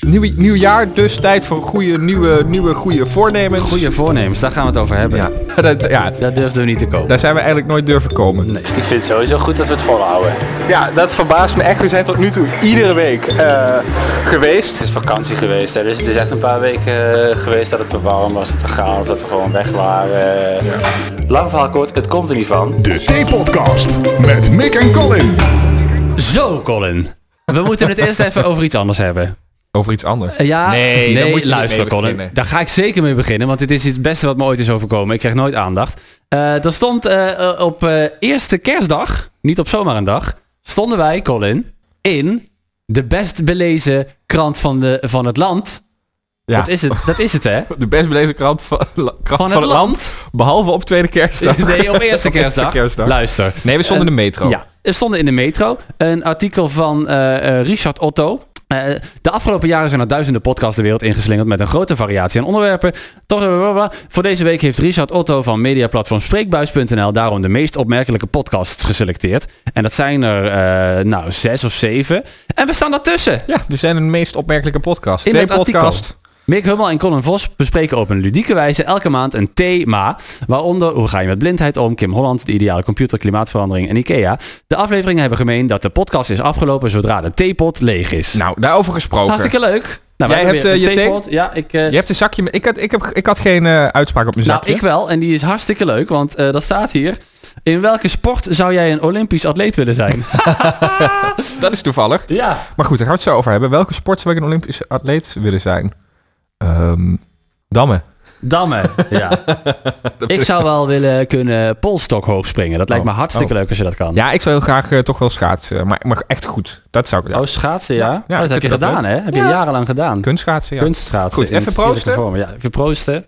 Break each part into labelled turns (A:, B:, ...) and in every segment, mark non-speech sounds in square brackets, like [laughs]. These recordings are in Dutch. A: Nieuw, nieuw jaar dus, tijd voor goede, nieuwe, nieuwe goede voornemens.
B: Goede voornemens, daar gaan we het over hebben.
A: Ja, [laughs] dat, ja,
B: Dat durfden we niet te komen.
A: daar zijn we eigenlijk nooit durven komen.
C: Ik vind het sowieso goed dat we het volhouden.
A: Ja, dat verbaast me echt. We zijn tot nu toe iedere week eh, geweest.
C: Het is vakantie geweest, hè, dus het is echt een paar weken eh, geweest dat het te warm was om te gaan of dat we gewoon weg waren. Lang verhaal kort, het komt er niet van.
D: De T-podcast met Mick en Colin.
B: Zo, Colin. We moeten het eerst even over iets anders hebben.
A: Over iets anders.
B: Eh, Ja,
A: Nee, daar moet je niet
B: luister
A: mee
B: Colin.
A: beginnen.
B: Daar ga ik zeker mee beginnen, want dit is het beste wat me ooit is overkomen. Ik kreeg nooit aandacht. Eh er stond eh, eh, op eh, eerste kerstdag, niet op zomaar een dag, stonden wij, Colin, in de best belezen krant van, de, van het land.
A: Ja.
B: Dat, is het, dat is het, hè?
A: De best belezen krant van, la- krant van,
B: Van
A: het
B: het
A: land.
B: land. [laughs]
A: Behalve op tweede kerstdag.
B: Nee, op eerste
A: Op eerste
B: kerstdag.
A: kerstdag.
B: Luister.
A: Nee, we stonden
B: Eh,
A: in de metro.
B: Ja, er stonden in de metro een artikel van eh, eh, Richard Otto. Eh, de afgelopen jaren zijn er duizenden podcasts de wereld ingeslingerd met een grote variatie aan onderwerpen. Toch, eh, blablabla. Voor deze week heeft Richard Otto van mediaplatform Spreekbuis.nl daarom de meest opmerkelijke podcasts geselecteerd. En dat zijn er eh, nou zes of zeven. En we staan daartussen.
A: Ja, we zijn de meest opmerkelijke podcast.
B: In
A: Twee
B: dat artikel.
A: podcast.
B: Mick Hummel en Colin Vos bespreken op een ludieke wijze elke maand een thema. Waaronder hoe ga je met blindheid om, Kim Holland, de ideale computer, klimaatverandering en Ikea. De afleveringen hebben gemeen dat de podcast is afgelopen zodra de theepot leeg is.
A: Nou, daarover gesproken.
B: Hartstikke leuk. Nou,
A: Jij
B: wij hebben
A: hebt,
B: weer
A: eh,
B: een
A: je
B: theepot. Ja, ik... eh,
A: Je hebt een zakje. met- Ik had, ik heb, ik had geen eh, uitspraak op mijn
B: nou,
A: zakje.
B: ik wel. En die is hartstikke leuk, want eh dat staat hier. In welke sport zou jij een Olympisch atleet willen
A: [laughs]
B: zijn?
A: Dat is toevallig.
B: ja.
A: Maar goed, daar gaan we het zo over hebben. Welke sport zou ik een Olympische atleet willen zijn? Ehm dammen.
B: Dammen,
A: [laughs]
B: ja. ik zou wel willen kunnen polstok hoog springen. Dat lijkt me
A: Oh,
B: hartstikke
A: oh.
B: leuk als je dat kan.
A: Ja, ik zou heel graag eh, toch wel schaatsen. Maar, maar echt goed. Dat zou ik. Ja.
B: Oh, schaatsen, ja. Oh,
A: ik
B: dat heb
A: vind
B: je
A: dat
B: gedaan, hè? Heb je jarenlang gedaan.
A: Kunstschaatsen, ja.
B: Kunstschaatsen.
A: Goed,
B: in
A: even
B: sierlijke
A: proosten.
B: vormen. Ja, even proosten.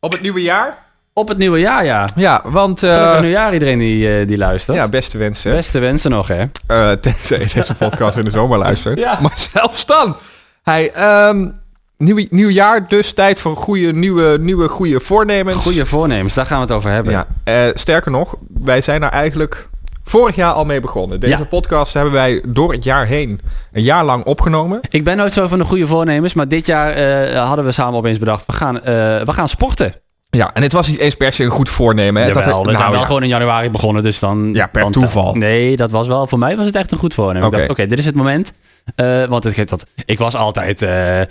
A: Op het nieuwe jaar?
B: Op het nieuwe jaar, ja.
A: Ja, want... eh,
B: Gelukkig nieuwjaar iedereen die, eh, die luistert.
A: ja, beste wensen.
B: Beste wensen nog, hè?
A: Eh, tenzij je deze podcast in de zomer luistert.
B: Ja.
A: Maar zelfs dan. Hey, ehm, nieuw, nieuw jaar dus. Tijd voor goede, nieuwe, nieuwe, goede voornemens.
B: Goede voornemens, daar gaan we het over hebben.
A: Ja, eh, sterker nog, wij zijn daar eigenlijk vorig jaar al mee begonnen. Deze
B: Ja.
A: podcast hebben wij door het jaar heen een jaar lang opgenomen.
B: Ik ben nooit zo van de goede voornemens, maar dit jaar eh, hadden we samen opeens bedacht, we gaan, eh, we gaan sporten.
A: Ja, en het was niet eens per se een goed voornemen. Hè?
B: Jawel,
A: had-
B: we zijn
A: nou
B: wel
A: ja.
B: gewoon in januari begonnen, dus dan...
A: Ja, per
B: dan-
A: toeval.
B: Nee, dat was wel... Voor mij was het echt een goed voornemen. Ik
A: Oké.
B: dacht, Oké, dit is het moment. Eh, want het geeft dat... Ik was altijd eh, eh,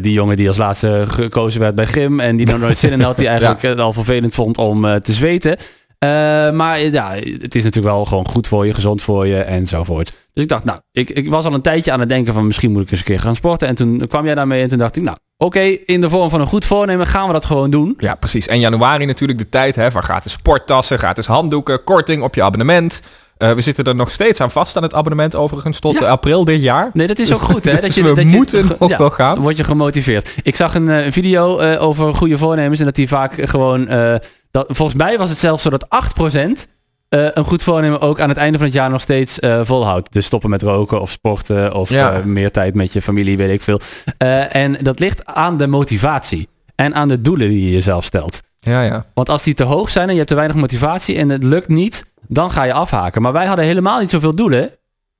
B: die jongen die als laatste gekozen werd bij Grim... en die dan nooit zin in had,
A: [laughs]
B: die eigenlijk het al vervelend vond om eh, te zweten. Eh, maar eh, ja, het is natuurlijk wel gewoon goed voor je, gezond voor je enzovoort. Dus ik dacht, nou, ik, ik was al een tijdje aan het denken van misschien moet ik eens een keer gaan sporten. En toen kwam jij daarmee en toen dacht ik, nou, oké, in de vorm van een goed voornemen gaan we dat gewoon doen.
A: Ja, precies. En januari natuurlijk de tijd hè, van gratis sporttassen, gratis handdoeken, korting op je abonnement. Eh, we zitten er nog steeds aan vast aan het abonnement overigens tot
B: Ja.
A: eh, april dit jaar.
B: Nee, dat is ook goed, hè? Dat je,
A: [laughs] we
B: dat je-
A: moeten
B: ge-
A: ook wel gaan.
B: Word je gemotiveerd. Ik zag een eh, video eh, over goede voornemens en dat die vaak gewoon... eh, dat, volgens mij was het zelfs zo dat 8% eh, een goed voornemen ook aan het einde van het jaar nog steeds eh, volhoudt. Dus stoppen met roken of sporten of
A: Ja.
B: eh, meer tijd met je familie, weet ik veel. Eh, en dat ligt aan de motivatie en aan de doelen die je jezelf stelt.
A: Ja, ja.
B: Want als die te hoog zijn en je hebt te weinig motivatie en het lukt niet, dan ga je afhaken. Maar wij hadden helemaal niet zoveel doelen,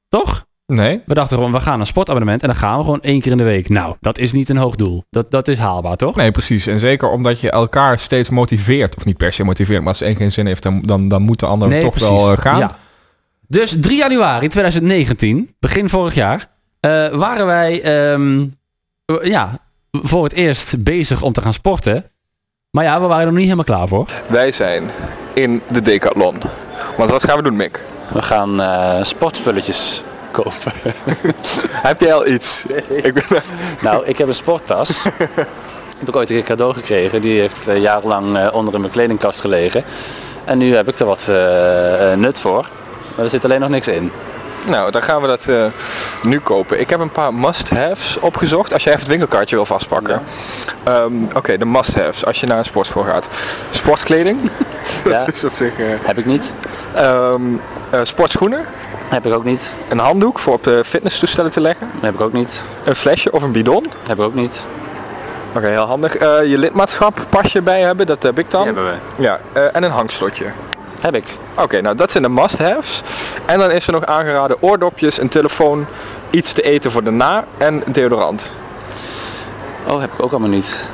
B: toch?
A: Nee.
B: We dachten gewoon, we gaan een sportabonnement en dan gaan we gewoon één keer in de week. Nou, dat is niet een hoog doel. Dat, dat is haalbaar, toch?
A: Nee, precies. En zeker omdat je elkaar steeds motiveert. Of niet per se motiveert, maar als de een geen zin heeft, dan, dan, dan moet de ander
B: Nee,
A: toch wel eh, gaan.
B: Ja. Dus 3 januari 2019, begin vorig jaar, eh, waren wij ehm, eh, ja, voor het eerst bezig om te gaan sporten. Maar ja, we waren er nog niet helemaal klaar voor.
A: Wij zijn in de Decathlon. Want wat gaan we doen, Mick?
C: We gaan eh, sportspulletjes kopen.
A: Heb jij al iets? Ik ben, [laughs]
C: nou, ik heb een sporttas. heb ik ooit een keer cadeau gekregen. Die heeft eh, jarenlang eh, onder in mijn kledingkast gelegen. En nu heb ik er wat eh, eh, nut voor. Maar er zit alleen nog niks in.
A: nou, dan gaan we dat eh, nu kopen. Ik heb een paar must-haves opgezocht. Als jij even het winkelkaartje wil vastpakken. Ehm, Oké, de must-haves. Als je naar een sportschool gaat. [laughs] Sportkleding.
C: Ja,
A: Dat is op zich... eh,
C: heb ik niet.
A: ehm, eh, sportschoenen.
C: Heb ik ook niet.
A: Een handdoek voor op de fitnesstoestellen te leggen.
C: Heb ik ook niet.
A: Een flesje of een bidon.
C: Heb ik ook niet.
A: Oké, heel handig. Eh, je lidmaatschap pasje bij hebben, dat heb ik dan.
C: Die hebben we.
A: Ja, eh, en een hangslotje.
C: Heb ik.
A: Oké, nou dat zijn de must-haves. En dan is er nog aangeraden oordopjes, een telefoon, iets te eten voor daarna en deodorant.
C: Oh, heb ik ook allemaal niet.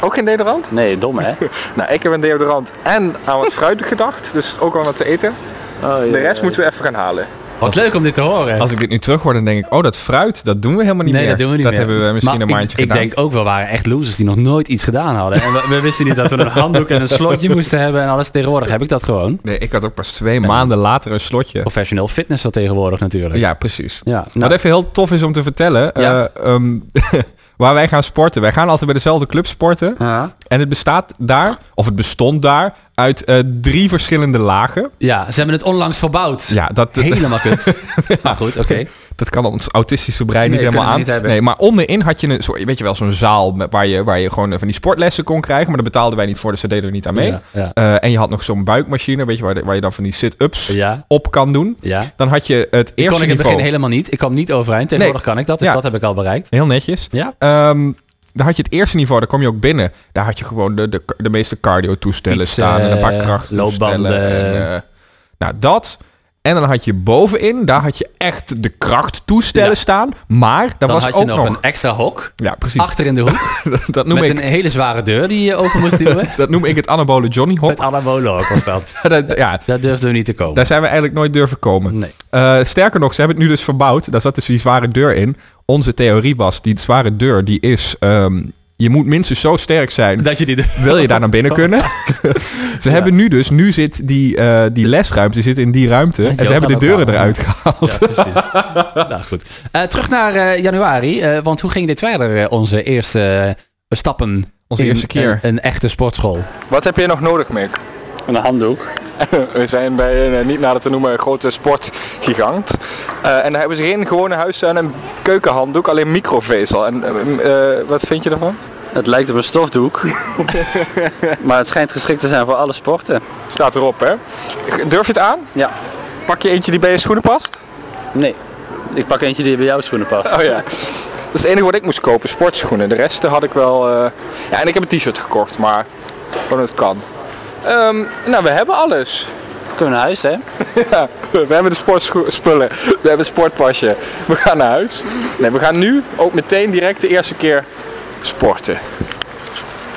A: Ook geen deodorant?
C: Nee, dom hè? Oh,
A: Nou, ik heb een deodorant en aan wat fruit [laughs] gedacht. Dus ook aan wat te eten.
C: Oh,
A: De rest moeten we even gaan halen.
B: Wat leuk om dit te horen.
E: Als ik dit nu terug hoor, dan denk ik, oh, dat fruit, dat doen we helemaal niet
B: nee,
E: meer.
B: dat doen we niet meer.
E: hebben we misschien
B: Maar
E: een maandje
B: ik,
E: gedaan.
B: Ik denk ook, we waren echt losers die nog nooit iets gedaan hadden. En we, we wisten niet dat we een handdoek en een slotje moesten hebben en alles. Tegenwoordig heb ik dat gewoon.
E: Nee, ik had ook pas twee maanden later een slotje.
B: Professioneel fitness dat tegenwoordig natuurlijk.
E: Ja, precies.
B: Ja, nou.
E: Wat even heel tof is om te vertellen,
B: Ja.
E: eh, ehm, [laughs] waar wij gaan sporten. Wij gaan altijd bij dezelfde club sporten.
B: Ja.
E: En het bestaat daar, of het bestond daar, uit eh, drie verschillende lagen.
B: Ja, ze hebben het onlangs verbouwd.
E: Ja, dat,
B: Helemaal kut.
E: [laughs]
B: Maar goed, oké.
E: dat kan ons autistische brein
B: Nee,
E: niet
B: kunnen
E: helemaal aan.
B: we niet hebben.
E: nee, maar onderin had je een soort, weet je wel, zo'n zaal met, waar, je, waar je gewoon eh, van die sportlessen kon krijgen. Maar daar betaalden wij niet voor, dus daar deden we niet aan mee.
B: Ja, ja.
E: Eh, en je had nog zo'n buikmachine, weet je, waar, de- waar je dan van die sit-ups
B: Ja.
E: op kan doen.
B: Ja.
E: Dan had je het eerste
B: Ik kon ik in het
E: niveau.
B: begin helemaal niet. Ik kwam niet overeind. Tegenwoordig kan ik dat, dus
E: Ja.
B: dat heb ik al bereikt.
E: Heel netjes.
B: Ja.
E: Ehm, daar had je het eerste niveau, daar kom je ook binnen. Daar had je gewoon de, de, de meeste cardio toestellen
B: Iets,
E: staan en een paar
B: eh,
E: kracht
B: loopbanden.
E: nou, dat. En dan had je bovenin, daar had je echt de krachttoestellen
B: Ja.
E: staan. Maar daar
B: Dan
E: was
B: had je
E: ook
B: nog, een extra hok.
E: Ja, precies.
B: Achter in de hoek.
E: [laughs] dat, noem
B: met
E: ik,
B: een hele zware deur die je open moest
E: [laughs]
B: duwen.
E: dat noem ik het anabole Johnny
B: met
E: Hop.
B: anabolen ook was dat.
E: [laughs] ja,
B: Daar durfden we niet te komen.
E: daar zijn we eigenlijk nooit durven komen.
B: Nee.
E: Eh, sterker nog, ze hebben het nu dus verbouwd. Daar zat dus die zware deur in. Onze theorie was, die zware deur, die is... ehm, je moet minstens zo sterk
B: [laughs]
E: zijn
B: Dat je die deur-
E: Wil je daar naar binnen kunnen? ze hebben nu dus, nu zit die, eh, die lesruimte zit in die ruimte. En
B: joh,
E: ze hebben
B: kan
E: de
B: ook
E: deuren
B: wel.
E: eruit gehaald.
B: [laughs] Ja, precies. nou, goed. Eh, terug naar eh, januari, eh, want hoe ging dit verder, eh, onze eerste eh, stappen?
E: Onze
B: in
E: eerste keer.
B: Een, een echte sportschool.
A: Wat heb je nog nodig, Mick? [laughs]
C: Een handdoek.
A: We zijn bij een eh, niet nader te noemen grote sportgigant. Eh, en daar hebben ze geen gewone huis en een keukenhanddoek, alleen microvezel. En eh, eh, wat vind je daarvan?
C: Het lijkt op een
E: [laughs]
C: stofdoek. maar het schijnt geschikt te zijn voor alle sporten.
A: Staat erop, hè? Durf je het aan?
C: Ja.
A: Pak je eentje die bij je schoenen past?
C: Nee. Ik pak eentje die bij jouw schoenen past.
A: [laughs] Oh ja. Dat is het enige wat ik moest kopen, sportschoenen. De rest eh, had ik wel... eh, Ja, en ik heb een t-shirt gekocht, maar gewoon het kan. Ehm, nou, we hebben alles.
C: Kunnen we naar huis, hè?
A: [laughs] Ja, we hebben de sportspullen. We hebben het sportpasje. We gaan naar huis. Nee, we gaan nu ook meteen direct de eerste keer sporten.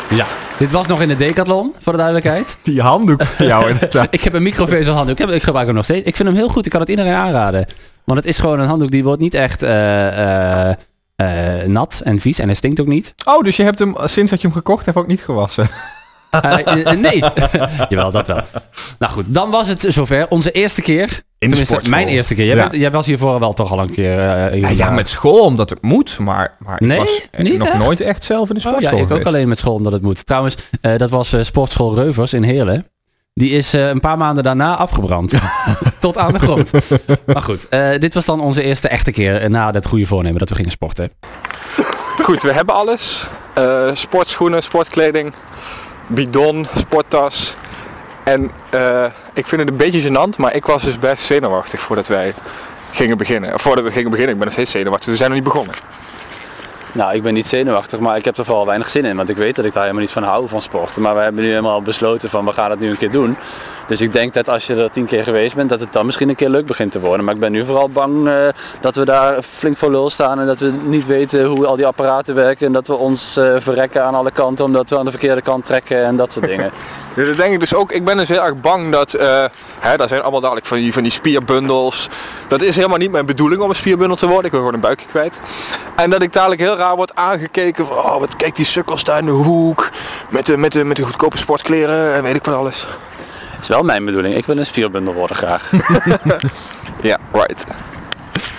B: Ja. Dit was nog in de decathlon, voor de duidelijkheid.
E: Die handdoek
A: [laughs]
E: voor jou inderdaad.
B: ik heb een microvezelhanddoek. Ik, heb- ik gebruik hem nog steeds. Ik vind hem heel goed. Ik kan het iedereen aanraden. Want het is gewoon een handdoek die wordt niet echt eh, eh, eh, nat en vies. En hij stinkt ook
E: [laughs]
B: niet.
E: Oh, dus je hebt hem eh, sinds dat je hem gekocht hebt ook niet gewassen.
B: Eh, eh, eh, nee. [laughs] Jawel, dat wel. Nou goed, dan was het zover. Onze eerste keer. Tenminste,
E: sportschool.
B: mijn eerste keer. Jij,
E: Ja.
B: bent- jij was hiervoor wel toch al een keer. eh, hier
E: Ja, ja,
B: gedaan.
E: met school omdat het moet. Maar, maar
B: Nee,
E: ik was eh,
B: niet
E: nog
B: echt.
E: nooit echt zelf in de
B: Oh, ja,
E: sportschool
B: ik ook
E: geweest.
B: alleen met school omdat het moet. Trouwens, eh, dat was eh, sportschool Reuvers in Heerlen. Die is eh, een paar maanden daarna
E: [laughs]
B: afgebrand. Tot aan de grond. Maar goed, eh, dit was dan onze eerste echte keer eh, na dat goede voornemen dat we gingen sporten.
A: Goed, we hebben alles. Eh, sportschoenen, sportkleding, bidon, sporttas. En eh, ik vind het een beetje gênant, maar ik was dus best zenuwachtig voordat wij gingen beginnen. Of Voordat we gingen beginnen, ik ben nog steeds zenuwachtig, we zijn nog niet begonnen.
C: Nou, ik ben niet zenuwachtig, maar ik heb er vooral weinig zin in. Want ik weet dat ik daar helemaal niet van hou van sporten. Maar we hebben nu helemaal besloten van we gaan het nu een keer doen. Dus ik denk dat als je er tien keer geweest bent, dat het dan misschien een keer leuk begint te worden. Maar ik ben nu vooral bang eh, dat we daar flink voor lul staan. En dat we niet weten hoe al die apparaten werken. En dat we ons eh, verrekken aan alle kanten omdat we aan de verkeerde kant trekken en dat soort dingen.
A: Dus dat denk ik dus ook. Ik ben dus heel erg bang dat, eh hè, daar zijn allemaal dadelijk van die, van die spierbundels. Dat is helemaal niet mijn bedoeling om een spierbundel te worden. Ik wil gewoon een buikje kwijt. En dat ik dadelijk heel raar word aangekeken van, oh wat kijkt die sukkels daar in de hoek. Met de, met de, met de goedkope sportkleren en weet ik wat alles.
C: is wel mijn bedoeling. Ik wil een spierbundel worden graag.
A: Ja, right.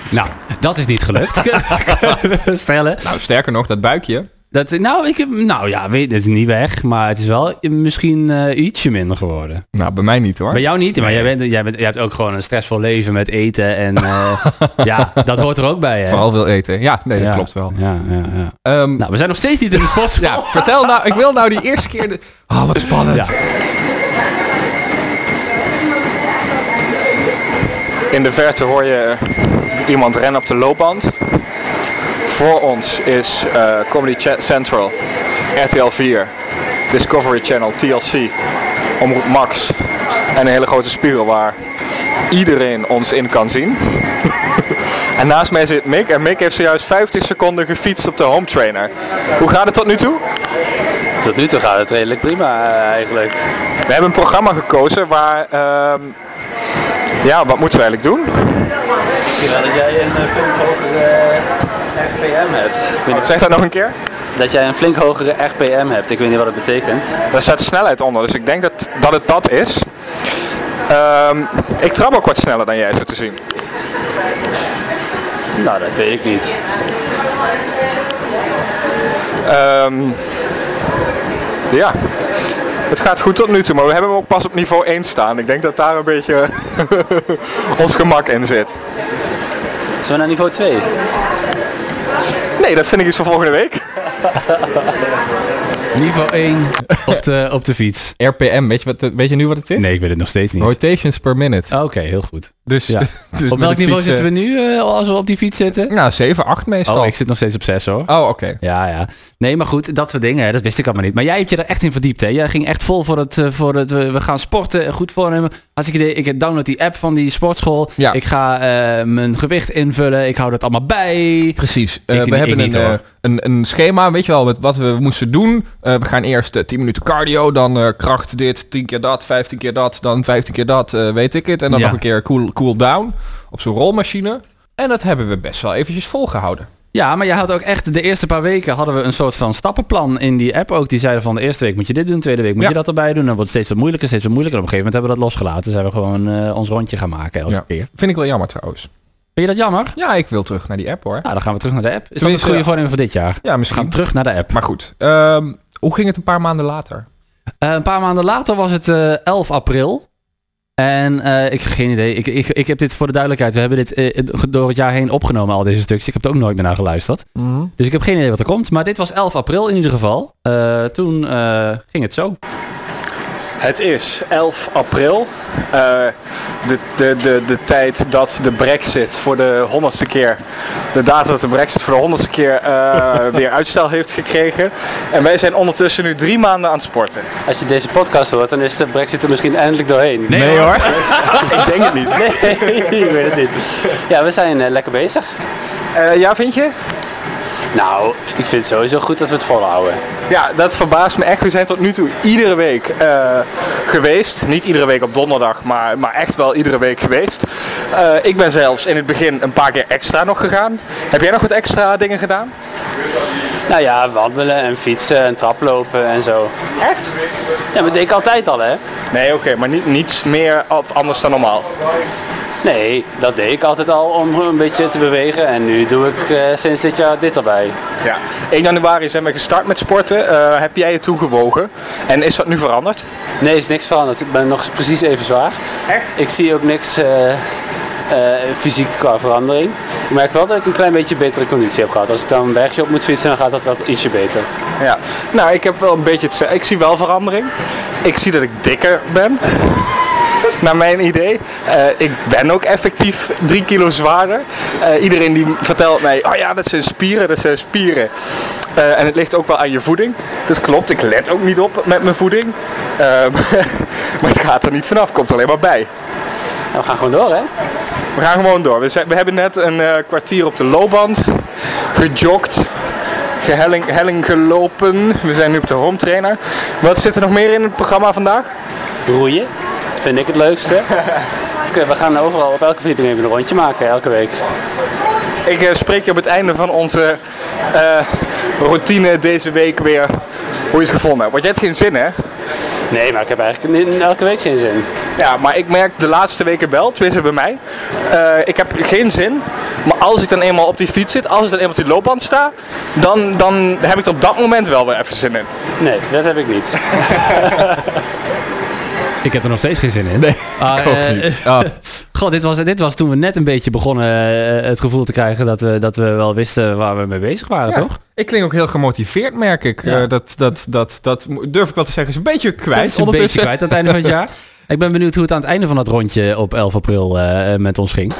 B: Nou, dat is niet
E: [laughs]
B: gelukt. Kunnen we Stellen.
E: Nou, sterker nog, dat buikje.
B: Dat, nou, ik, heb- nou ja, weet, het is niet weg, maar het is wel misschien eh, ietsje minder geworden.
E: Nou, bij mij niet hoor.
B: Bij jou niet, maar jij, bent, jij, bent, jij hebt ook gewoon een stressvol leven met eten en
E: [laughs]
B: eh, ja, dat hoort er ook bij. Hè?
E: Vooral wil eten. Ja, nee, dat
B: Ja,
E: klopt wel.
B: Ja, ja, ja.
E: Ehm,
B: Nou, we zijn nog steeds niet in de sportschool.
E: ja, vertel nou, ik wil nou die eerste keer... De... Oh, wat spannend.
B: Ja.
A: In de verte hoor je iemand rennen op de loopband. Voor ons is eh, Comedy Cha- Central, RTL 4, Discovery Channel, TLC, Omroep Max en een hele grote spiegel waar iedereen ons in kan zien. [laughs] En naast mij zit Mick. En Mick heeft zojuist 50 seconden gefietst op de home trainer. Hoe gaat het tot nu toe?
C: Tot nu toe gaat het redelijk prima eh, eigenlijk.
A: We hebben een programma gekozen waar... ehm, ja, wat moeten we eigenlijk doen?
C: Misschien wel dat jij een eh, flink hogere eh, RPM hebt. Ik weet niet-
A: Zeg dat nog een keer.
C: Dat jij een flink hogere RPM hebt. Ik weet niet wat het betekent.
A: Daar staat snelheid onder, dus ik denk dat, dat het dat is. Ehm, ik trap ook wat sneller dan jij, zo te zien.
C: Nou, dat weet ik niet.
A: Ehm, ja, het gaat goed tot nu toe, maar we hebben hem ook pas op niveau 1 staan. Ik denk dat daar een beetje [laughs] ons gemak in zit.
C: Zullen we naar niveau 2?
A: Nee, dat vind ik iets voor volgende week.
B: Niveau 1 op de, op de fiets.
E: RPM, weet je, wat, weet je nu wat het is?
B: Nee, ik weet het nog steeds niet. Oké,
E: Rotations per minute.
B: Ah, heel goed.
E: Dus,
B: Ja.
E: [laughs] dus met
B: op
E: het
B: welk niveau
E: fietsen-
B: zitten we nu eh, als we op die fiets zitten?
E: Nou, 7, 8 meestal.
B: Oh, ik zit nog steeds op 6 hoor.
E: Oh, oké.
B: Ja, ja. Nee, maar goed, dat soort dingen, hè, dat wist ik allemaal niet. Maar jij hebt je er echt in verdiept, hè? Jij ging echt vol voor het, eh, voor het we, we gaan sporten, goed voornemen. Als ik idee, ik download die app van die sportschool.
E: Ja.
B: Ik ga eh, mijn gewicht invullen, ik hou dat allemaal bij.
E: Precies. Eh,
B: Ik-
E: we
B: ik
E: hebben
B: niet,
E: een, eh,
B: hoor.
E: een, een schema, weet je wel, met wat we moesten doen. Eh, we gaan eerst eh, 10 minuten cardio, dan eh, kracht dit, 10 keer dat, 15 keer dat, dan 15 keer dat, eh, weet ik het. En dan
B: Ja.
E: nog een keer cool, cool down op zo'n rolmachine. En dat hebben we best wel eventjes volgehouden.
B: Ja, maar jij had ook echt de eerste paar weken hadden we een soort van stappenplan in die app ook. Die zeiden van de eerste week moet je dit doen, de tweede week moet
E: Ja.
B: je dat erbij doen. Dan wordt het steeds wat moeilijker, steeds wat moeilijker. En op een gegeven moment hebben we dat losgelaten. Zijn we gewoon eh, ons rondje gaan maken elke
E: Ja.
B: keer.
E: Vind ik wel jammer trouwens.
B: Vind je dat jammer?
E: Ja, ik wil terug naar die app hoor.
B: Nou, dan gaan we terug naar de app. Is dat het
E: Tenminste,
B: goede
E: ja.
B: voornemen voor dit jaar?
E: Ja,
B: We gaan
E: misschien.
B: terug naar de app.
E: Maar goed, ehm, hoe ging het een paar maanden later?
B: Eh, een paar maanden later was het eh, 11 april. En eh, ik heb geen idee. Ik, ik, ik heb dit voor de duidelijkheid. We hebben dit eh, door het jaar heen opgenomen, al deze stukjes. Ik heb het ook nooit meer naar geluisterd. Dus ik heb geen idee wat er komt. Maar dit was 11 april in ieder geval. Eh, toen eh, ging het zo.
A: Het is 11 april. Eh, de, de, de, de tijd dat de brexit voor de honderdste keer... De datum dat de brexit voor de honderdste keer eh, weer uitstel heeft gekregen. En wij zijn ondertussen nu drie maanden aan het sporten.
C: Als je deze podcast hoort, dan is de brexit er misschien eindelijk doorheen. Nee,
B: hoor.
A: Ik denk het niet.
C: [laughs] ik weet het niet. Ja, we zijn eh, lekker bezig.
A: Eh, ja, vind je?
C: Nou, ik vind het sowieso goed dat we het volhouden.
A: Ja, dat verbaast me echt. We zijn tot nu toe iedere week eh, geweest. Niet iedere week op donderdag, maar, maar echt wel iedere week geweest. Eh, ik ben zelfs in het begin een paar keer extra nog gegaan. Heb jij nog wat extra dingen gedaan?
C: Nou ja, wandelen en fietsen en traplopen en zo.
A: Echt?
C: Ja, maar dat deed ik altijd al, hè?
A: Nee, oké, maar niet, niets meer of anders dan normaal.
C: Nee, dat deed ik altijd al om een beetje te bewegen. En nu doe ik eh, sinds dit jaar dit erbij.
A: Ja. 1 januari zijn we gestart met sporten. Eh, heb jij je toegewogen? En is dat nu veranderd?
C: Nee, is niks veranderd. Ik ben nog precies even zwaar.
A: Echt?
C: Ik zie ook niks eh, eh, fysiek qua verandering. Ik merk wel dat ik een klein beetje betere conditie heb gehad. Als ik dan een bergje op moet fietsen, dan gaat dat wat ietsje beter.
A: Ja. Nou, ik heb wel een beetje het... Ik zie wel verandering. Ik zie dat ik dikker ben. [laughs] Naar mijn idee. Eh, ik ben ook effectief drie kilo zwaarder. Eh, iedereen die vertelt mij, oh ja, dat zijn spieren, dat zijn spieren. Eh, en het ligt ook wel aan je voeding. Dat klopt, ik let ook niet op met mijn voeding. Eh, [laughs] maar het gaat er niet vanaf, komt er alleen maar bij.
C: Nou, we gaan gewoon door, hè?
A: We gaan gewoon door. We, zijn- we hebben net een eh, kwartier op de loopband gejogd, gehelling, helling gelopen. We zijn nu op de home trainer. Wat zit er nog meer in het programma vandaag?
C: Roeien vind ik het leukste. Oké, we gaan overal op elke verdieping even een rondje maken, elke week.
A: Ik eh, spreek je op het einde van onze eh, routine deze week weer hoe je het gevonden hebt. Want jij hebt geen zin hè?
C: Nee, maar ik heb eigenlijk in- in elke week geen zin.
A: Ja, maar ik merk de laatste weken wel, tenminste bij mij. eh, ik heb geen zin. Maar als ik dan eenmaal op die fiets zit, als ik dan eenmaal op die loopband sta, dan, dan heb ik er op dat moment wel weer even zin in.
C: Nee, dat heb ik niet.
B: [laughs] Ik heb er nog steeds geen zin in. Ah, eh,
E: Ah,
B: [laughs] God, dit was, dit was toen we net een beetje begonnen eh, het gevoel te krijgen dat we, dat we wel wisten waar we mee bezig waren,
E: ja.
B: toch?
E: Ik klink ook heel gemotiveerd, merk ik.
B: Ja.
E: Eh, dat, dat, dat, dat durf ik wel te zeggen, is een beetje
B: Dat is
E: kwijt
B: een beetje
E: ondertussen.
B: kwijt aan het einde van het [laughs] jaar. Ik ben benieuwd hoe het aan het einde van dat rondje op 11 april eh, met ons ging.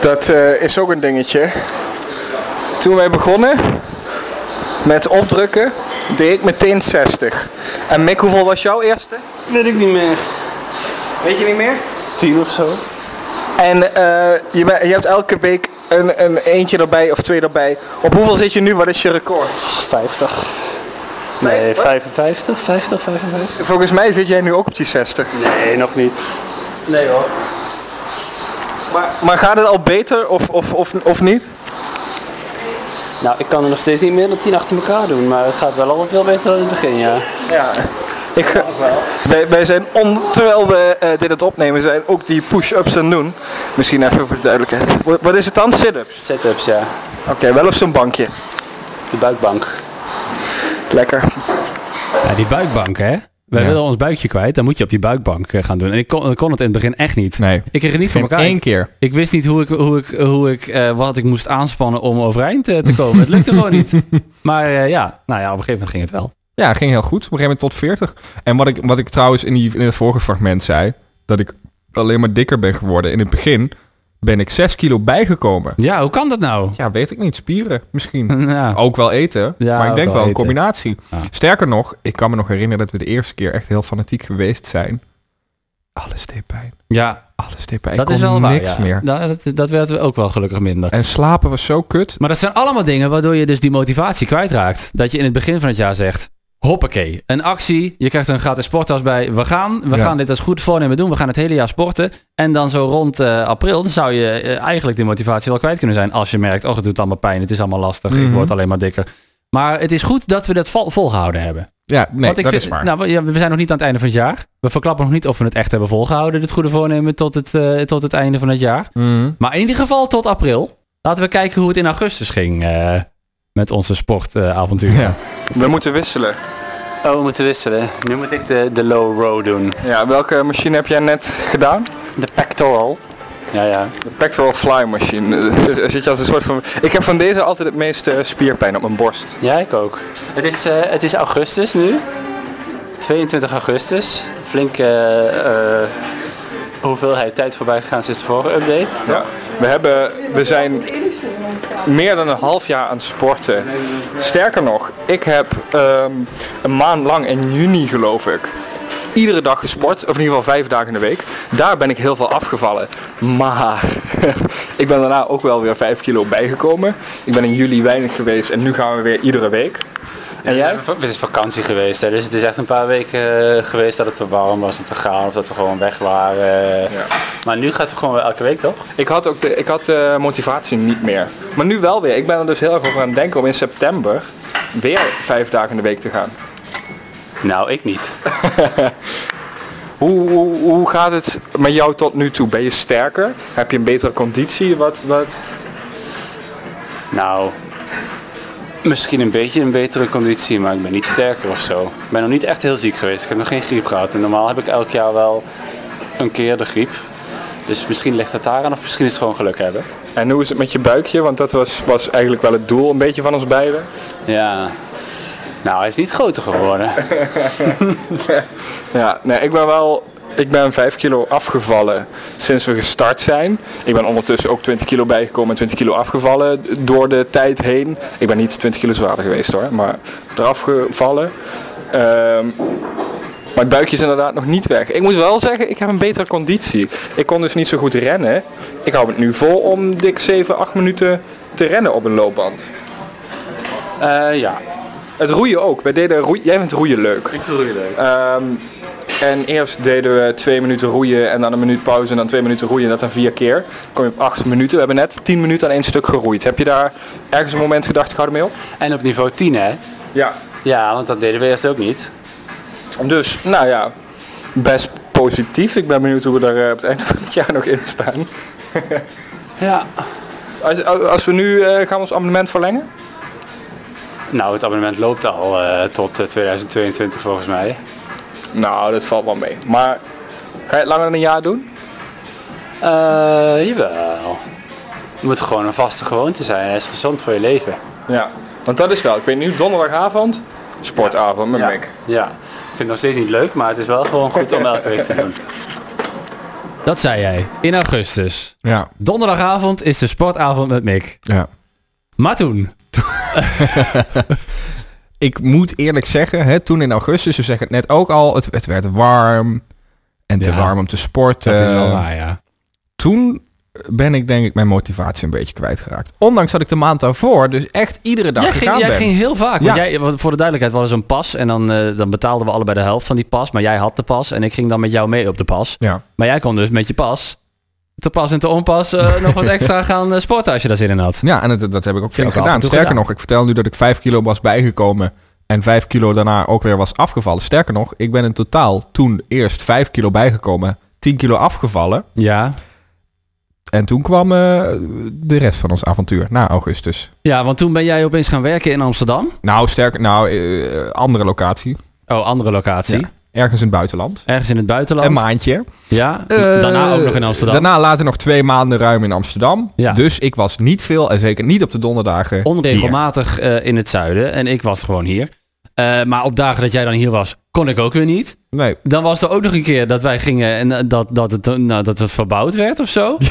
A: Dat eh, is ook een dingetje. Toen wij begonnen met opdrukken, deed ik meteen 60. En Mick, hoeveel was jouw eerste?
C: Weet ik niet meer.
A: Weet je niet meer?
C: Tien of zo?
A: En eh, je, bent- je hebt elke week en, en eentje erbij of twee erbij. Op hoeveel zit je nu? Wat is je record?
C: 50. Nee, 55, 50, 55.
A: Volgens mij zit jij nu ook op die 60.
C: Nee, nog niet.
A: Nee hoor. Maar, maar gaat het al beter of, of, of, of niet?
C: Nou, ik kan er nog steeds niet meer dan 10 achter elkaar doen, maar het gaat wel al veel beter dan in het begin, ja.
A: Ja. Ik, wij, wij zijn on, terwijl we eh, dit aan het opnemen zijn, ook die push-ups aan het doen. Misschien even voor de duidelijkheid. Wat, wat is het dan? Sit-ups?
C: Setups, ja.
A: Oké, wel op zo'n bankje.
C: De buikbank.
A: Lekker.
B: Ja, die buikbank, hè? Wij willen ons buikje kwijt, dan moet je op die buikbank eh, gaan doen. En ik kon, ik kon het in het begin echt niet.
E: Nee.
B: Ik kreeg het niet voor
E: Geen
B: elkaar.
E: één
B: Ik,
E: keer.
B: ik wist niet hoe ik, hoe ik, hoe ik eh, wat ik moest aanspannen om overeind eh, te komen. het lukte gewoon
E: [laughs]
B: niet. Maar eh, ja, nou ja, op een gegeven moment ging het wel.
E: Ja, ging heel goed. Op een gegeven moment tot 40. En wat ik, wat ik trouwens in, die, in het vorige fragment zei, dat ik alleen maar dikker ben geworden. In het begin ben ik 6 kilo bijgekomen.
B: Ja, hoe kan dat nou?
E: Ja, weet ik niet. Spieren misschien.
B: Ja.
E: Ook wel eten,
B: Ja,
E: maar ik
B: ook
E: denk
B: wel
E: wel een
B: eten.
E: combinatie.
B: Ja.
E: Sterker nog, ik kan me nog herinneren dat we de eerste keer echt heel fanatiek geweest zijn. Alles deed pijn.
B: Ja,
E: Alles deed pijn.
B: dat
E: ik
B: is
E: kon
B: wel waar.
E: niks
B: ja.
E: meer.
B: Nou, dat, dat werd ook wel gelukkig minder.
E: En slapen was zo kut.
B: Maar dat zijn allemaal dingen waardoor je dus die motivatie kwijtraakt. Dat je in het begin van het jaar zegt, hoppakee, een actie. Je krijgt een gratis sporttas bij. We gaan, we
E: Ja.
B: gaan dit als goed voornemen doen. We gaan het hele jaar sporten. En dan zo rond eh, april, dan zou je eh, eigenlijk die motivatie wel kwijt kunnen zijn. Als je merkt, oh het doet allemaal pijn. Het is allemaal lastig. Ik word alleen maar dikker. Maar het is goed dat we dat vol- volgehouden hebben.
E: Ja, nee,
B: Want ik
E: dat
B: vind-
E: is waar.
B: Nou, ja, we zijn nog niet aan het einde van het jaar. We verklappen nog niet of we het echt hebben volgehouden, dit goede voornemen, tot het, eh, tot het einde van het jaar.
E: Mhm.
B: Maar in ieder geval tot april. Laten we kijken hoe het in augustus ging eh, met onze sportavontuur.
E: Ja.
A: We moeten wisselen.
C: Oh, we moeten wisselen. Nu moet ik de, de low row doen.
A: Ja, welke machine heb jij net gedaan?
C: De pectoral. Ja, ja.
A: De pectoral fly machine. Eh, zit- Zit je als een soort van... Ik heb van deze altijd het meeste spierpijn op mijn borst.
C: Ja, ik ook. Het is, eh, het is augustus nu. 22 augustus. Flink eh, eh, hoeveelheid tijd voorbij gegaan sinds de vorige update.
A: Ja. We, hebben, we zijn meer dan een half jaar aan het sporten. Sterker nog, ik heb ehm, een maand lang in juni geloof ik iedere dag gesport, of in ieder geval vijf dagen in de week. Daar ben ik heel veel afgevallen. Maar [laughs] ik ben daarna ook wel weer vijf kilo bijgekomen. Ik ben in juli weinig geweest en nu gaan we weer iedere week. En jij?
C: Het is vakantie geweest, hè, dus het is echt een paar weken eh, geweest dat het te warm was om te gaan of dat we gewoon weg waren.
A: Ja.
C: Maar nu gaat het gewoon weer elke week, toch?
A: Ik had ook de, ik had de motivatie niet meer. Maar nu wel weer. Ik ben er dus heel erg over aan het denken om in september weer vijf dagen in de week te gaan.
C: Nou, ik niet.
A: Hoe, hoe, hoe gaat het met jou tot nu toe? Ben je sterker? Heb je een betere conditie? Wat, wat?
C: Nou, misschien een beetje een betere conditie, maar ik ben niet sterker of zo. Ik ben nog niet echt heel ziek geweest. Ik heb nog geen griep gehad. En normaal heb ik elk jaar wel een keer de griep. Dus misschien ligt het daaraan of misschien is het gewoon geluk hebben.
A: En hoe is het met je buikje? Want dat was, was eigenlijk wel het doel een beetje van ons beiden.
C: Ja. Nou, hij is niet groter
A: [laughs]
C: geworden.
A: Ja, nee, ik ben wel... Ik ben 5 kilo afgevallen sinds we gestart zijn. Ik ben ondertussen ook 20 kilo bijgekomen en 20 kilo afgevallen d- door de tijd heen. Ik ben niet 20 kilo zwaarder geweest hoor, maar eraf gevallen. Ehm, maar het buikje is inderdaad nog niet weg. Ik moet wel zeggen, ik heb een betere conditie. Ik kon dus niet zo goed rennen. Ik hou het nu vol om dik 7, 8 minuten te rennen op een loopband.
C: Eh, ja.
A: Het roeien ook. Wij deden roeien. Jij vindt roeien leuk.
C: Ik vind het leuk.
A: Ehm, en eerst deden we twee minuten roeien en dan een minuut pauze en dan twee minuten roeien en dat dan vier keer. Dan kom je op acht minuten. We hebben net tien minuten aan één stuk geroeid. Heb je daar ergens een moment gedacht, ga ermee op?
C: En op niveau 10, hè?
A: Ja.
C: Ja, want dat deden we eerst ook niet.
A: Dus, nou ja, best positief. Ik ben benieuwd hoe we daar eh, op het einde van het jaar nog in staan.
C: Ja.
A: Als, als we nu, eh, gaan we ons abonnement verlengen?
C: Nou, het abonnement loopt al eh, tot eh, 2022 volgens mij.
A: Nou, dat valt wel mee. Maar ga je het langer dan een jaar doen?
C: Eh, jawel. Het moet gewoon een vaste gewoonte zijn. Hij is gezond voor je leven.
A: Ja. Want dat is wel. Ik weet nu, donderdagavond, sportavond met Mick.
C: Ja. Ik vind het nog steeds niet leuk, maar het is wel gewoon goed om elke week te
E: [laughs]
C: doen.
B: Dat zei jij in augustus.
E: Ja,
B: Donderdagavond is de sportavond met Mick.
E: ja.
B: Maar toen,
E: ik moet eerlijk zeggen, hè, toen in augustus, ze zeggen het net ook al, het, het werd warm en te
B: Ja.
E: warm om te sporten.
B: dat is wel waar, ja.
E: Toen ben ik denk ik mijn motivatie een beetje kwijtgeraakt. Ondanks dat ik de maand daarvoor dus echt iedere dag
B: Jij ging,
E: gegaan
B: jij
E: ben.
B: ging heel vaak.
E: Ja.
B: Want jij, want voor de duidelijkheid, was een pas en dan, eh, dan betaalden we allebei de helft van die pas. Maar jij had de pas en ik ging dan met jou mee op de pas.
E: Ja.
B: Maar jij kon dus met je pas, te pas en te onpas, [laughs] eh, nog wat extra gaan eh, sporten als je daar zin in had.
E: Ja, en dat, dat heb ik ook flink
B: ook af en
E: gedaan.
B: toe
E: Sterker
B: gedaan.
E: nog, ik vertel nu dat ik 5 kilo was bijgekomen en 5 kilo daarna ook weer was afgevallen. Sterker nog, ik ben in totaal toen eerst 5 kilo bijgekomen, 10 kilo afgevallen.
B: Ja.
E: En toen kwam eh, de rest van ons avontuur na augustus.
B: Ja, want toen ben jij opeens gaan werken in Amsterdam.
E: Nou, sterker, nou, eh, andere locatie.
B: Oh, andere locatie.
E: Ja. Ergens in het buitenland.
B: Ergens in het buitenland.
E: Een maandje.
B: ja.
E: Eh,
B: daarna ook nog in Amsterdam.
E: Daarna later nog twee maanden ruim in Amsterdam.
B: Ja.
E: Dus ik was niet veel en zeker niet op de donderdagen.
B: Onregelmatig eh, in het zuiden. En ik was gewoon hier. Eh, maar op dagen dat jij dan hier was, kon ik ook weer niet.
E: hier. Nee.
B: Dan was er ook nog een keer dat wij gingen en eh, dat, dat, het, eh, nou, dat het verbouwd werd of [laughs] zo.
E: Dus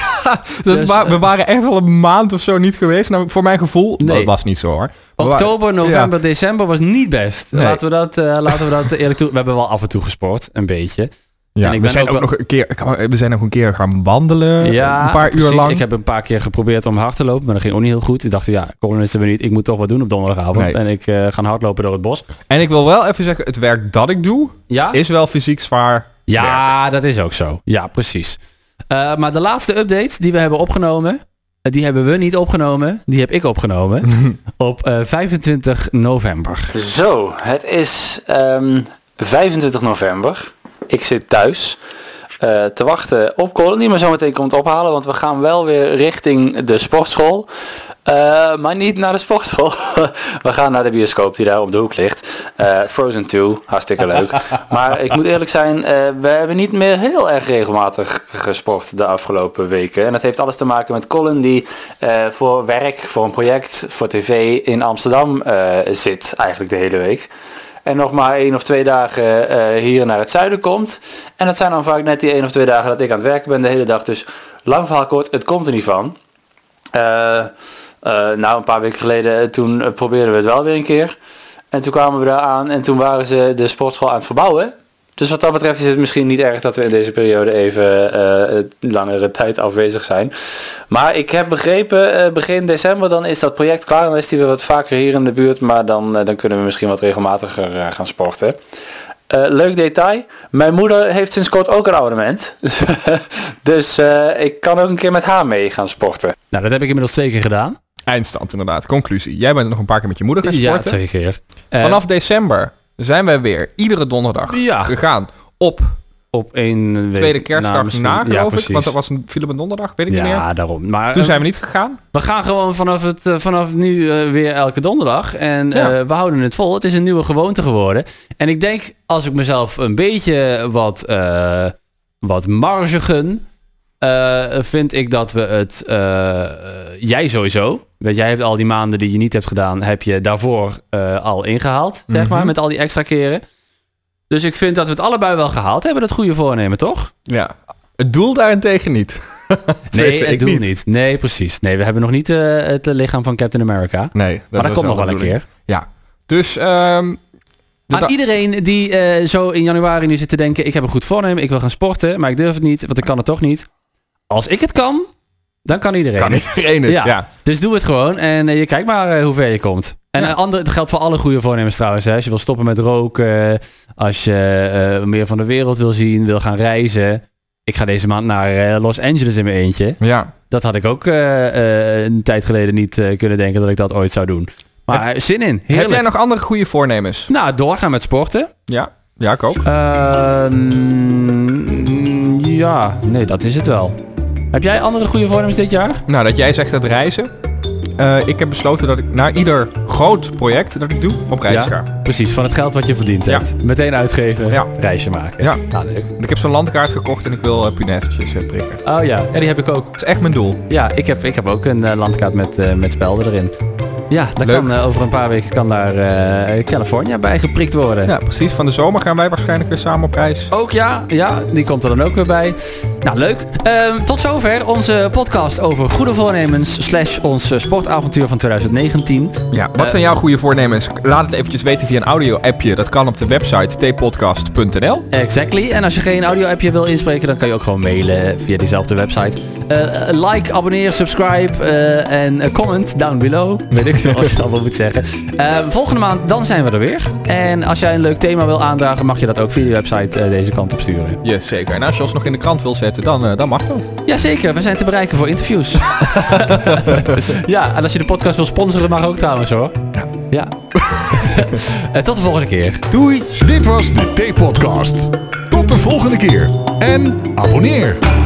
B: Dus,
E: wa-
B: eh,
E: we waren echt al een maand of zo niet geweest. Nou, voor mijn gevoel,
B: Nee.
E: dat was niet zo hoor. We wa-
B: Oktober, november, december was niet best.
E: Nee.
B: Laten, we dat, eh, laten we dat eerlijk toe... We hebben wel af en toe gesport, een beetje.
E: Ja,
B: en ik
E: we
B: ben
E: zijn
B: ook
E: ook,
B: wel-
E: nog een keer, ik kan- we zijn ook een keer gaan wandelen. Eh, een paar uur
B: precies.
E: lang.
B: Ik heb een paar keer geprobeerd om hard te lopen, maar dat ging ook niet heel goed. Ik dacht, ja, corona is er weer niet. Ik moet toch wat doen op donderdagavond.
E: Nee.
B: En ik eh ga hardlopen door het bos.
E: En ik wil wel even zeggen, het werk dat ik doe,
B: Ja,
E: is wel fysiek zwaar.
B: ja dat is ook zo. Ja, precies. Eh, maar de laatste update die we hebben opgenomen, eh, die hebben we niet opgenomen. Die heb ik opgenomen
C: [laughs]
B: op eh, 25 november.
C: Zo, het is ehm, 25 november. Ik zit thuis eh, te wachten op Colin, die me zo meteen komt ophalen. Want we gaan wel weer richting de sportschool. Eh, maar niet naar de sportschool. [laughs] we gaan naar de bioscoop die daar op de hoek ligt. Eh, Frozen 2, hartstikke leuk. maar ik moet eerlijk zijn, eh, we hebben niet meer heel erg regelmatig gesport de afgelopen weken. En dat heeft alles te maken met Colin die eh, voor werk, voor een project, voor tv in Amsterdam eh, zit eigenlijk de hele week. En nog maar één of twee dagen eh, hier naar het zuiden komt. En dat zijn dan vaak net die één of twee dagen dat ik aan het werken ben de hele dag. Dus lang verhaal kort, het komt er niet van. Eh, eh, nou, een paar weken geleden, eh, toen eh, probeerden we het wel weer een keer. En toen kwamen we daar aan en toen waren ze de sportschool aan het verbouwen. Dus wat dat betreft is het misschien niet erg dat we in deze periode even eh, eh, langere tijd afwezig zijn. Maar ik heb begrepen, eh, begin december dan is dat project klaar. Dan is die weer wat vaker hier in de buurt. Maar dan, eh, dan kunnen we misschien wat regelmatiger eh, gaan sporten. Eh, leuk detail. Mijn moeder heeft sinds kort ook een abonnement. [laughs] dus eh, ik kan ook een keer met haar mee gaan sporten.
B: Nou, dat heb ik inmiddels twee keer gedaan.
E: Eindstand inderdaad. Conclusie. Jij bent nog een paar keer met je moeder gaan
B: Ja,
E: sporten.
B: twee keer. Eh,
E: Vanaf december zijn wij weer iedere donderdag
B: Ja.
E: gegaan op
B: op één week
E: tweede kerstdag na,
B: nou, misschien.
E: geloof ik.
B: precies.
E: Want dat was een viel op een donderdag, weet ik niet meer.
B: ja, daarom. Maar
E: Toen
B: eh,
E: zijn we niet gegaan.
B: we gaan gewoon vanaf, het, eh, vanaf nu eh, weer elke donderdag. En
E: Ja.
B: eh, we houden het vol. Het is een nieuwe gewoonte geworden. En ik denk, als ik mezelf een beetje wat, eh wat marge gun, eh, vind ik dat we het... eh, eh, jij sowieso. Want jij hebt al die maanden die je niet hebt gedaan, heb je daarvoor eh, al ingehaald. Zeg
E: Mhm.
B: maar, met al die extra keren. Dus ik vind dat we het allebei wel gehaald hebben, dat goede voornemen, toch?
E: Ja. Het doel daarentegen niet. [laughs]
B: Nee,
E: Tenminste,
B: het
E: ik
B: doel niet.
E: niet.
B: Nee, precies. Nee, we hebben nog niet eh, het eh, lichaam van Captain America.
E: Nee.
B: maar dat
E: was
B: komt nog
E: de
B: wel een
E: bedoeling.
B: keer.
E: Ja. Dus ehm, de
B: Aan
E: da-
B: iedereen die eh, zo in januari nu zit te denken... ik heb een goed voornemen, ik wil gaan sporten... maar ik durf het niet, want ik kan het toch niet. Als ik het kan, dan kan iedereen
E: kan
B: het.
E: iedereen het.
B: Ja.
E: Ja.
B: Dus doe het gewoon en eh, je kijkt maar eh, hoe ver je komt. En eh, ander, het geldt voor alle goede voornemens trouwens. Hè. Als je wil stoppen met roken, eh, als je eh, meer van de wereld wil zien, wil gaan reizen. Ik ga deze maand naar eh, Los Angeles in mijn eentje.
E: Ja.
B: Dat had ik ook eh, eh, een tijd geleden niet eh, kunnen denken dat ik dat ooit zou doen. Maar eh, zin in. Heerlijk.
E: Heb jij nog andere goede voornemens?
B: Nou, doorgaan met sporten.
E: Ja. Ja, ik ook.
B: Ehm, ja, nee, dat is het wel. Heb jij andere goede voornemens dit jaar?
E: Nou, dat jij zegt dat reizen. Eh, ik heb besloten dat ik naar ieder groot project dat ik doe, op reis ga.
B: precies. Van het geld wat je verdiend
E: Ja.
B: hebt. Meteen uitgeven,
E: Ja.
B: reisje maken.
E: Ja.
B: Nou, leuk.
E: Ik heb zo'n landkaart gekocht en ik wil eh punaisjes eh, prikken.
B: Oh ja, en die heb ik ook.
E: Dat is echt mijn doel.
B: Ja, ik heb, ik heb ook een eh, landkaart met, eh, met spelden erin. Ja, dat
E: Leuk.
B: kan, eh, over een paar weken kan daar eh California bij geprikt worden.
E: Ja, precies. Van de zomer gaan wij waarschijnlijk weer samen op reis.
B: Ook ja, ja, die komt er dan ook weer bij. Nou, leuk. Ehm, tot zover onze podcast over goede voornemens slash ons eh, sportavontuur van 2019.
E: Ja, wat zijn jouw goede voornemens? Laat het eventjes weten via een audio-appje. Dat kan op de website tpodcast.nl.
B: Exactly. En als je geen audio-appje wil inspreken, dan kan je ook gewoon mailen via diezelfde website. Eh, like, abonneer, subscribe eh, en eh, comment down below. Weet ik veel wat je allemaal moet zeggen. Eh, volgende maand, dan zijn we er weer. En als jij een leuk thema wil aandragen, mag je dat ook via de website eh, deze kant op sturen.
E: Yes, zeker. En als je ons nog in de krant wil zetten, dan, eh, dan mag dat.
B: Jazeker, we zijn te bereiken voor interviews. ja, en als je de podcast wil sponsoren, mag ook trouwens hoor. Ja. ja. [laughs] Eh, tot de volgende keer.
E: Doei!
D: Dit was de T-podcast. Tot de volgende keer en abonneer.